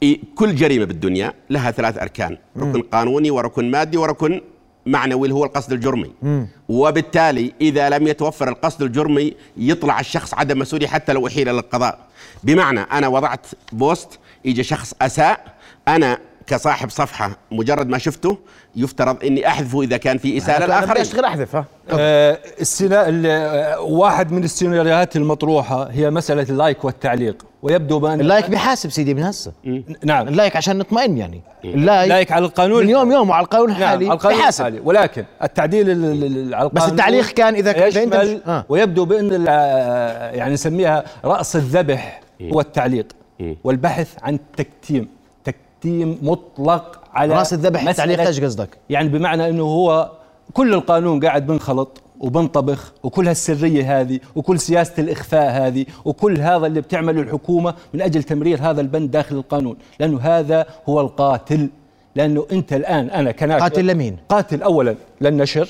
B: إي- كل جريمة بالدنيا لها ثلاث أركان ركن قانوني وركن مادي وركن معنوي اللي هو القصد الجرمي وبالتالي إذا لم يتوفر القصد الجرمي يطلع الشخص عدم مسؤولية حتى لو أحيل للقضاء بمعنى أنا وضعت بوست يجي شخص أساء أنا كصاحب صفحة مجرد ما شفته يفترض أني أحذفه إذا كان في إساءة
A: يعني أنا بدي
B: للآخرين
A: أشتغل أحذف ها
C: آه، السنا... ال- آه، واحد من السيناريوهات المطروحة هي مسألة اللايك والتعليق ويبدو بأن
A: اللايك بيحاسب سيدي من هسه
C: نعم
A: اللايك عشان نطمئن يعني اللايك
C: اللايك إيه. على القانون
A: من يوم يوم وعلى القانون
C: نعم
A: الحالي
C: على القانون
A: بيحاسب.
C: الحالي ولكن التعديل ال- ال- ال- على
A: بس
C: القانون
A: التعليق كان إذا- إذا أنت
C: يشمل
A: مش- آه.
C: ويبدو بأن ال- آه، يعني نسميها رأس الذبح هو التعليق والبحث عن تكتيم تكتيم مطلق على
A: راس الذبح
C: مسألة-
A: تعليق ايش قصدك؟
C: يعني بمعنى انه هو كل القانون قاعد بنخلط وبنطبخ وكل هالسريه هذه وكل سياسه الاخفاء هذه وكل هذا اللي بتعمله الحكومه من اجل تمرير هذا البند داخل القانون لانه هذا هو القاتل لانه انت الان انا كناشر
A: قاتل لمين؟
C: قاتل اولا للنشر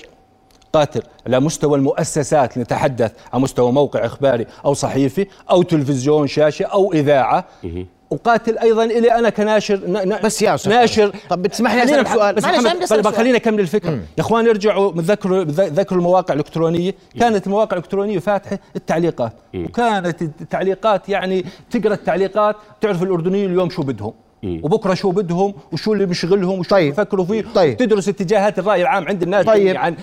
C: قاتل على مستوى المؤسسات نتحدث على مستوى موقع اخباري او صحيفي او تلفزيون شاشه او اذاعه اقاتل ايضا الي انا كناشر ن- ن-
A: بس يا أستاذ
C: ناشر
A: طب بتسمح لي
C: خلينا
A: أسألك
C: بس-
A: سؤال؟
C: بس
A: معلش،
C: محمد،
A: عندي أسألك
C: بل- بل
A: سؤال.
C: خليني اكمل الفكره يا اخوان ارجعوا ذكروا ذكروا المواقع الالكترونيه كانت المواقع الالكترونيه فاتحه التعليقات وكانت التعليقات يعني تقرا التعليقات تعرف الاردنيين اليوم شو بدهم وبكره شو بدهم وشو اللي بيشغلهم وشو
A: طيب.
C: اللي بيفكروا فيه
A: طيب.
C: تدرس اتجاهات الراي العام عند الناس
A: طيب.
C: جميعا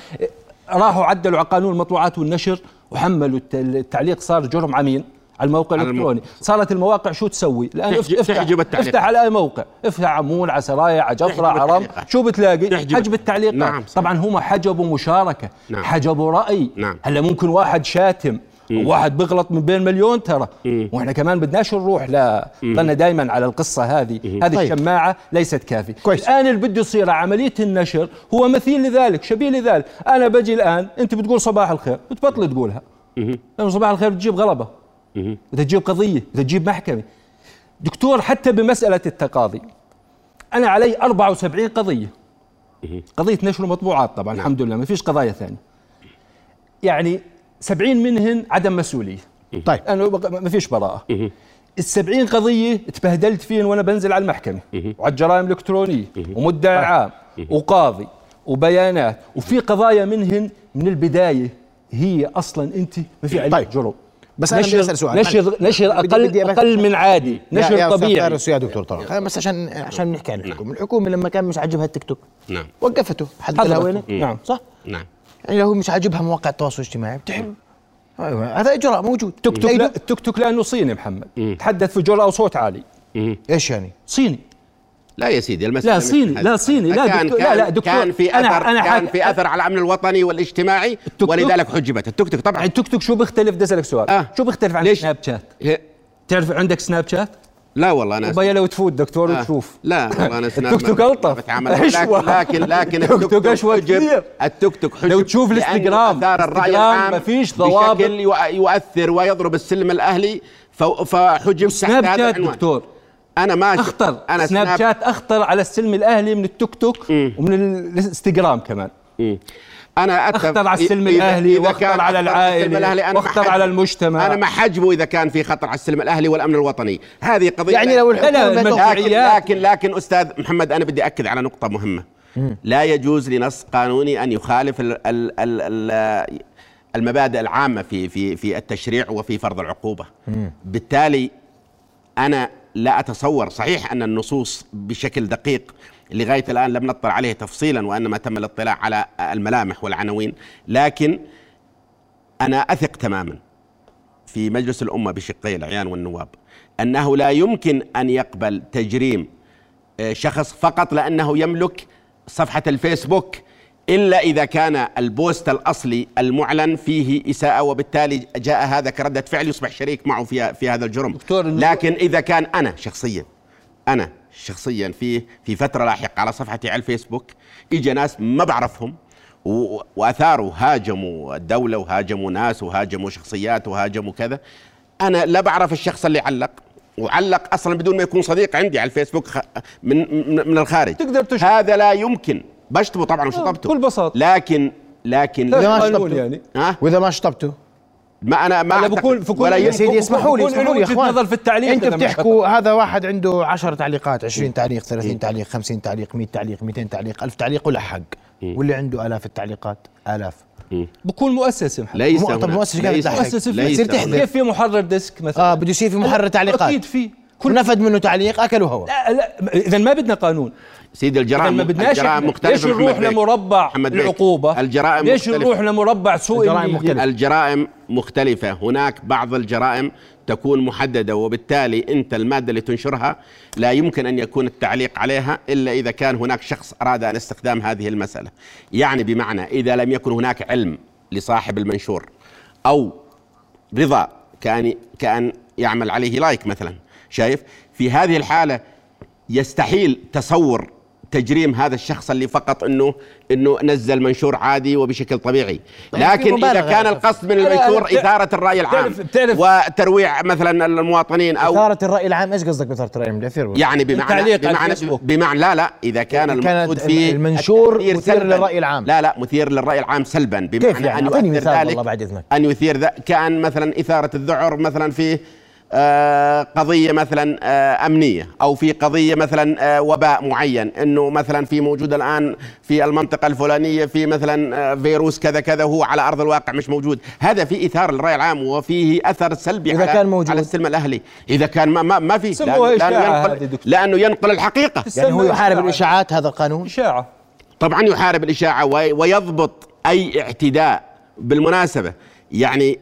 C: راحوا عدلوا على قانون المطبوعات والنشر وحملوا الت- التعليق صار جرم على مين؟ على الموقع
B: على الموقع.
C: الالكتروني صارت المواقع شو تسوي الان
B: تحجب- تحجب التعليق.
C: افتح على اي موقع افتح على مول على سرايا على جفره
B: تحجب
C: على رم
B: التعليقات.
C: شو بتلاقي
B: تحجب-
C: حجب التعليقات
B: نعم، صحيح.
C: طبعا هم حجبوا مشاركه
B: نعم.
C: حجبوا راي
B: نعم.
C: هلا ممكن واحد شاتم واحد بغلط من بين مليون ترى واحنا كمان بدناش نروح لا ظلنا دائما على القصه هذه هذه
A: طيب.
C: الشماعه ليست كافيه
A: كويس.
C: الان اللي بده يصير على عمليه النشر هو مثيل لذلك شبيه لذلك انا بجي الان انت بتقول صباح الخير بتبطل تقولها لانه صباح الخير بتجيب غلبه بتجيب قضيه بتجيب محكمه دكتور حتى بمسألة التقاضي أنا علي 74 قضية قضية نشر مطبوعات طبعا الحمد لله ما فيش قضايا ثانية يعني 70 منهن عدم مسؤولية
A: طيب
C: أنا بق- ما فيش براءة السبعين قضية تبهدلت فيهن وأنا بنزل على المحكمة وعلى الجرائم الإلكترونية ومدعي عام وقاضي وبيانات وفي قضايا منهن من البداية هي أصلا أنت ما في عليك
A: طيب.
C: جرم
A: بس أنا بدي أسأل سؤال. طيب.
C: نشر نشر
A: بدي-
C: اقل
A: بدي أبس-
C: اقل من عادي نشر
A: يا- يا أستاذ
C: طبيعي
A: فارس ويا دكتور طارق
C: نعم.
A: بس عشان عشان نحكي عن الحكومه، الحكومه لما كان مش عاجبها التيك توك
B: نعم
A: وقفته حددها
C: حظرته.
A: وينه
C: نعم.
A: صح؟
B: نعم
A: يعني لو مش عاجبها مواقع التواصل الاجتماعي بتحل أيوة، هذا اجراء موجود
C: تيك توك
A: لا
C: لا
A: يدو-
C: التيك توك لانه صيني محمد تحدث في جرأة وصوت عالي
A: ايش يعني؟
C: صيني
B: لا يا سيدي المسألة
C: لا
B: مش
C: صيني،
B: هذه.
C: لا صيني، لا
B: كان
C: دكتور- لا،
B: كان
C: لا، دكتور،
B: كان في
C: أنا-
B: اثر
C: أنا
B: كان
C: حاك-
B: في اثر على الامن الوطني والاجتماعي
C: توك.
B: ولذلك حجبت التوك توك
C: يعني
B: طبعا
C: التيك توك شو بيختلف بدي اسالك سؤال
B: آه.
C: شو بيختلف عن
B: ليش؟
C: سناب شات
B: هي-
C: تعرف عندك سناب شات
B: لا والله انا
C: وبيا لو تفوت دكتور
B: آه.
C: وتشوف
B: لا والله انا سناب
C: التوك توك
B: ما- ما
C: ألطف.
B: بتعامل.
C: أشوى.
B: لكن لكن لكن
C: التوك توك أشوى كثير.
B: حجب التوك توك حجب
C: لو تشوف
B: لأنه
C: الانستغرام،
B: اثار الراي
C: الانستغرام
B: العام
C: ما فيش ضوابط.
B: بشكل يو- يؤثر ويضرب السلم الاهلي فو- فحجب
C: سناب
B: تحت هذا
C: شات
B: العنوان.
C: دكتور
B: انا ما أشوف.
C: اخطر
B: انا
C: سناب شات اخطر على السلم الاهلي من التيك توك ومن الانستغرام كمان
B: مم. انا أتف...
C: أخطر على السلم الأهلي وأخطر
B: كان
C: على
B: أخطر على السلم
C: العائلة
B: الأهلي، أنا
C: وأخطر
B: مع حجب-
C: على المجتمع.
B: انا مع حجبه اذا كان في خطر على السلم الاهلي والامن الوطني هذه قضيه
A: يعني لو
C: لا، لا،
A: الحكومه
C: المنع-
B: لكن
C: الوضعيات.
B: لكن لكن استاذ محمد انا بدي اكد على نقطه مهمه لا يجوز لنص قانوني ان يخالف ال ال ال ال المبادئ العامه في في في التشريع وفي فرض العقوبه بالتالي انا لا اتصور صحيح ان النصوص بشكل دقيق لغايه الان لم نطلع عليه تفصيلا وانما تم الاطلاع على الملامح والعناوين لكن انا اثق تماما في مجلس الامه بشقي العيان والنواب انه لا يمكن ان يقبل تجريم آه، شخص فقط لانه يملك صفحه الفيسبوك الا اذا كان البوست الاصلي المعلن فيه اساءه وبالتالي جاء هذا كرده فعل يصبح شريك معه في في هذا الجرم
C: دكتور، إنه-
B: لكن اذا كان انا شخصيا انا شخصيا في في فتره لاحقه على صفحتي على الفيسبوك اجى ناس ما بعرفهم و- واثاروا هاجموا الدوله وهاجموا ناس وهاجموا شخصيات وهاجموا كذا انا لا بعرف الشخص اللي علق وعلق اصلا بدون ما يكون صديق عندي على الفيسبوك خ- من من, من الخارج
C: تقدر تشتم.
B: هذا لا يمكن بشتمه طبعا وشطبته
C: بكل بساطة.
B: لكن لكن
C: لا،
A: ما
C: قانون
A: شطبته.
C: يعني
B: ها
A: واذا ما شطبته
B: ما انا ما
C: هلا
B: أعتقد
C: بكون- بكون-
B: ولا
C: يا
A: يا
B: يمكن-
A: سيدي اسمحوا لي
C: بكون
A: اسمحوا
C: له
A: لي يا
C: وجهة
A: اخوان
C: نظر في التعليق
A: انتوا
C: إذا إيه. مش
A: بتحكوا هذا واحد عنده 10 تعليقات 20 تعليق 30 تعليق 50 تعليق 100 تعليق 200 تعليق 1000 تعليق ولا حق
C: إيه.
A: واللي عنده آلاف التعليقات آلاف
C: بكون مؤسسه محمد
B: ليس
A: مو- طب
B: هناك-
A: مؤسسة كانت
B: ليس-
A: تحرك.
C: مؤسسه في
B: ليس
A: يصير تحضر.
B: هناك.
C: كيف في محرر ديسك مثلا
A: اه بده يصير في محرر تعليقات
C: اكيد في
A: كل نفد منه تعليق اكلوا هوا
C: لا لا اذا ما بدنا قانون
B: سيدي
C: اذا
B: الجرائم
C: ما بدناش
B: الجرائم
C: إحنا.
B: مختلفة
C: ليش
B: محمد
C: نروح
B: بيك.
C: لمربع
B: محمد بيك.
C: العقوبه
B: الجرائم
C: ليش
B: مختلفة.
C: نروح لمربع سوء
A: الجرائم
C: النية؟
A: مختلفة.
B: الجرائم مختلفة هناك بعض الجرائم تكون محددة وبالتالي أنت المادة اللي تنشرها لا يمكن أن يكون التعليق عليها إلا إذا كان هناك شخص أراد أن استخدام هذه المسألة يعني بمعنى إذا لم يكن هناك علم لصاحب المنشور أو رضا كأن, كأن يعمل عليه لايك مثلا شايف في هذه الحالة يستحيل تصور تجريم هذا الشخص اللي فقط انه انه نزل منشور عادي وبشكل طبيعي لكن اذا
A: مبالغة
B: كان
A: يا
B: القصد من
C: لا، لا،
B: المنشور
C: بتع-
B: اثاره الراي العام
C: بتعرف- بتعرف-
B: وترويع مثلا المواطنين او
A: اثاره الراي العام ايش قصدك باثاره الراي العام الاثير
B: يعني بمعنى
C: التعليق على
B: بمعنى
C: الفيسبوك.
B: بمعنى لا لا اذا كان
A: إذا كان
B: المقصود فيه
A: المنشور
B: التأثير
A: مثير
B: سلباً.
A: للرأي العام.
B: لا لا مثير للراي العام سلبا بمعنى
A: كيف يعني؟
B: ان
A: أعطيني
B: يؤثر
A: مثال
B: ذلك
A: والله بعد إذنك.
B: ان يثير ذا كان مثلا اثاره الذعر مثلا في آه، قضية مثلا آه، أمنية أو في قضية مثلا آه، وباء معين أنه مثلا في موجود الآن في المنطقة الفلانية في مثلا آه، فيروس كذا كذا وهو على أرض الواقع مش موجود هذا في إثار للرأي العام وفيه أثر سلبي
A: إذا
B: على
A: كان موجود.
B: على السلم الأهلي إذا كان ما, ما, ما في
C: سموها
B: لأنه- لأنه
C: إشاعة هذه
B: ينقل,
C: دكتور.
B: لأنه ينقل الحقيقة
A: يعني هو
C: تسمى
A: يحارب
C: إشاعة.
A: الاشاعات هذا القانون
C: إشاعة
B: طبعا يحارب الإشاعة وي- ويضبط أي اعتداء بالمناسبة يعني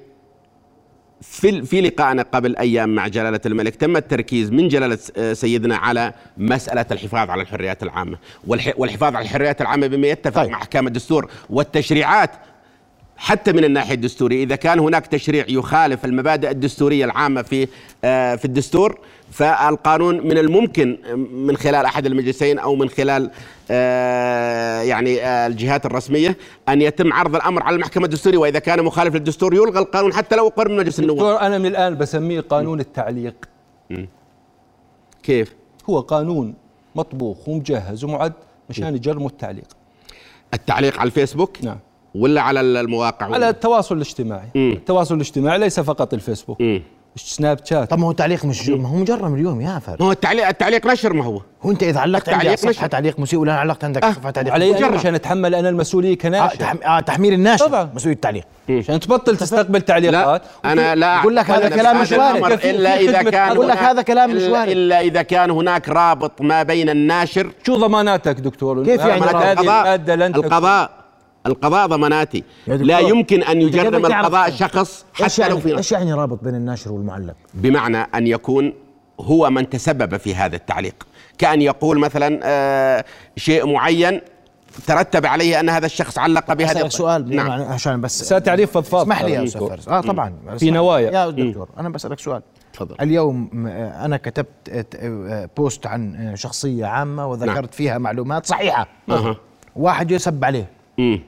B: في ال- في لقائنا قبل أيام مع جلالة الملك تم التركيز من جلالة س- آه، سيدنا على مسألة الحفاظ على الحريات العامة والح- والحفاظ على الحريات العامة بما يتفق
A: طيب.
B: مع أحكام الدستور والتشريعات حتى من الناحية الدستورية إذا كان هناك تشريع يخالف المبادئ الدستورية العامة في آه، في الدستور فالقانون من الممكن آه، من خلال أحد المجلسين أو من خلال آه، يعني آه، الجهات الرسمية أن يتم عرض الأمر على المحكمة الدستورية وإذا كان مخالف للدستور يلغى القانون حتى لو أقر من مجلس النواب
C: دكتور أنا من الآن بسميه قانون التعليق
B: كيف؟
C: هو قانون مطبوخ ومجهز ومعد مشان يجرموا التعليق
B: التعليق على الفيسبوك
C: نعم
B: ولا على ال- المواقع
C: على التواصل الاجتماعي
B: مم.
C: التواصل الاجتماعي ليس فقط الفيسبوك
B: مم.
C: سناب شات
A: طب ما هو التعليق
C: إيه.
A: مش ما هو مجرم اليوم يا فرد
B: ما هو التعليق التعليق نشر ما هو
A: هو انت اذا علقت عندي على
B: التعليق
A: صفحه
B: مش-
A: تعليق مسيء ولا علقت عندك
B: آه،
A: على صفحه تعليق
C: علي
B: مجرد.
C: عشان اتحمل انا المسؤوليه
A: آه،
C: كناشئ
A: تحم- آه تحميل الناشر
C: طبعاً.
A: مسؤول التعليق
C: عشان تبطل تستقبل تعليقات
B: انا لا
A: أقول لك
B: أعتقد
A: هذا
B: أن
A: كلام
B: هذا
A: مشوارك.
B: الأمر
C: في-
B: الا
C: في
B: اذا
C: خدمة
B: كان
C: أقول
A: لك
B: هناك-
A: هذا كلام
B: إلا-
A: مشوارك.
B: الا اذا كان هناك رابط ما بين الناشر
C: شو ضماناتك دكتور
A: كيف يعني
C: ضمانات
A: ضمانات؟
C: هذه
B: القضاء
C: الماده لن تكون-
B: القضاء القضاء ضماناتي
A: يا دكتور،
B: لا يمكن ان
A: أنت كيف
B: يجرم
A: بتعرف
B: القضاء
A: كيف؟
B: شخص
A: ايش
B: حتى لو
A: يعني
B: في
A: ايش يعني رابط بين الناشر والمعلق؟
B: بمعنى ان يكون هو من تسبب في هذا التعليق كان يقول مثلا آه، شيء معين ترتب عليه ان هذا الشخص علق بهذا
A: اسالك سؤال
B: نعم
A: يعني عشان بس
C: أستاذ تعريف فضفاض
A: اسمح لي يا
B: إيه.
C: ترى
A: استاذ
C: دكتور.
A: فارس اه طبعا اسمح لي.
C: نوايا.
A: يا دكتور انا بسالك سؤال
B: تفضل.
A: اليوم م- آه، انا كتبت آه، ت- آه، بوست عن آه، شخصيه عامه
B: نعم.
A: وذكرت فيها معلومات صحيحه
B: أها.
A: واحد يسب عليه
B: مم.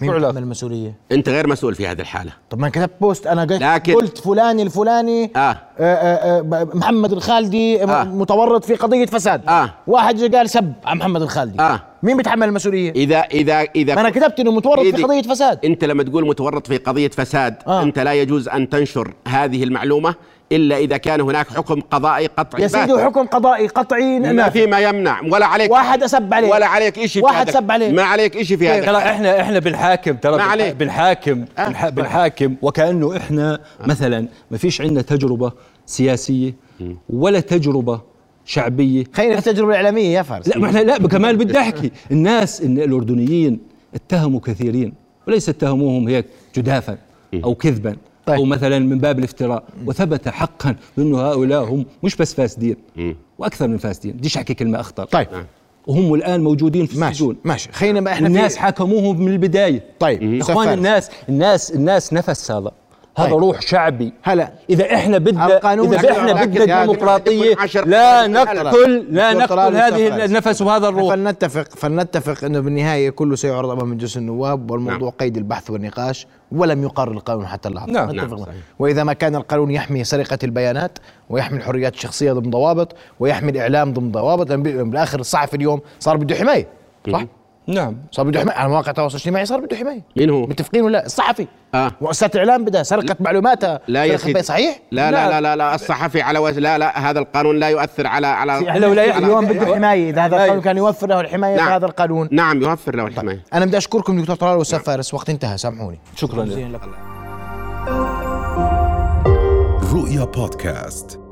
A: مين
C: شو
A: يتحمل
C: علاقة؟
A: المسؤوليه؟
B: انت غير مسؤول في هذه الحاله
A: طب ما أنا كتبت بوست انا قلت-
B: لكن-
A: قلت فلان الفلاني
B: آه.
A: آه، آه، آه، ب- محمد الخالدي م-
B: آه.
A: متورط في قضيه فساد
B: آه.
A: واحد جا قال سب على محمد الخالدي
B: آه. إيه.
A: مين بيتحمل المسؤوليه؟
B: اذا اذا اذا
A: ما انا كتبت انه متورط في
B: إيدي.
A: قضيه فساد
B: انت لما تقول متورط في قضيه فساد
A: آه.
B: آه. انت لا يجوز ان تنشر هذه المعلومه الا اذا كان هناك حكم قضائي قطعي
A: يا سيدي
B: بات.
A: حكم قضائي قطعي نعم.
B: ما
A: نافذ
B: في ما يمنع ولا عليك
A: واحد أسب عليه.
B: ولا عليك شيء في
A: واحد
B: هذا.
A: سب عليه. إيه،
B: ما عليك شيء في هذا
C: ترى احنا احنا بنحاكم ترى
B: يعني. ما
C: بنح-
B: عليك.
C: بنحاكم
B: آه.
C: بنح- بنحاكم وكانه احنا مثلا ما فيش عندنا تجربه سياسيه ولا تجربه شعبيه
A: خلينا في التجربه الاعلاميه يا فارس
C: لا ما احنا لا كمان بدي احكي الناس ان الاردنيين اتهموا كثيرين وليس اتهموهم هيك جدافا او كذبا
A: طيب.
C: او مثلا من باب الافتراء وثبت حقا انه هؤلاء هم مش بس فاسدين واكثر من فاسدين بديش احكي كلمه اخطر
A: طيب
C: وهم الان موجودين في
A: ماشي
C: السجون
A: ماشي خلينا بقى احنا
C: الناس
A: في-
C: حاكموهم من البدايه
A: طيب،
C: يا
A: أستاذ
C: اخوان
A: فارس.
C: الناس الناس الناس نفس هذا هذا
A: طيب.
C: روح شعبي
A: هلا.
C: اذا احنا بدنا
A: القانون
C: اذا احنا
A: لكن- لكن-
C: بدنا ديمقراطية
B: لكن- لكن-
C: لا
B: لكن-
C: نقتل لا
A: دكتور
C: نقتل
A: طلال مصطفى.
C: هذه النفس وهذا الروح
A: فلنتفق فلنتفق انه بالنهايه كله سيعرض امام مجلس النواب والموضوع نعم. قيد البحث والنقاش ولم يقرر القانون حتى اللحظه
C: نعم،
A: نتفق
C: نعم،
A: معه.
B: صحيح.
A: واذا ما كان القانون يحمي سرقه البيانات ويحمي الحريات الشخصيه ضمن ضوابط ويحمي الاعلام ضمن ضوابط لان بال- بالاخر الصحفي اليوم صار بده حمايه صح؟
C: نعم
A: صار بده حمايه على مواقع التواصل الاجتماعي صار بده حمايه
B: مين هو؟
A: متفقين ولا لا؟ الصحفي
B: آه.
A: مؤسسه الاعلام بدها سرقه معلوماتها
B: لا
A: سرقة
B: يا سيدي
A: بيانات. صحيح؟ نعم.
B: لا لا لا لا, لا الصحفي على وجه لا لا هذا القانون لا يؤثر على على
A: لو لا
C: على-
A: اليوم بده حمايه اذا هذا
C: حماية.
A: القانون كان يوفر له الحمايه
B: نعم.
A: في هذا القانون
B: نعم يوفر له الحمايه
A: انا بدي اشكركم دكتور طلال واستاذ فارس وقت انتهى سامحوني
C: شكرا لك
D: رؤيا بودكاست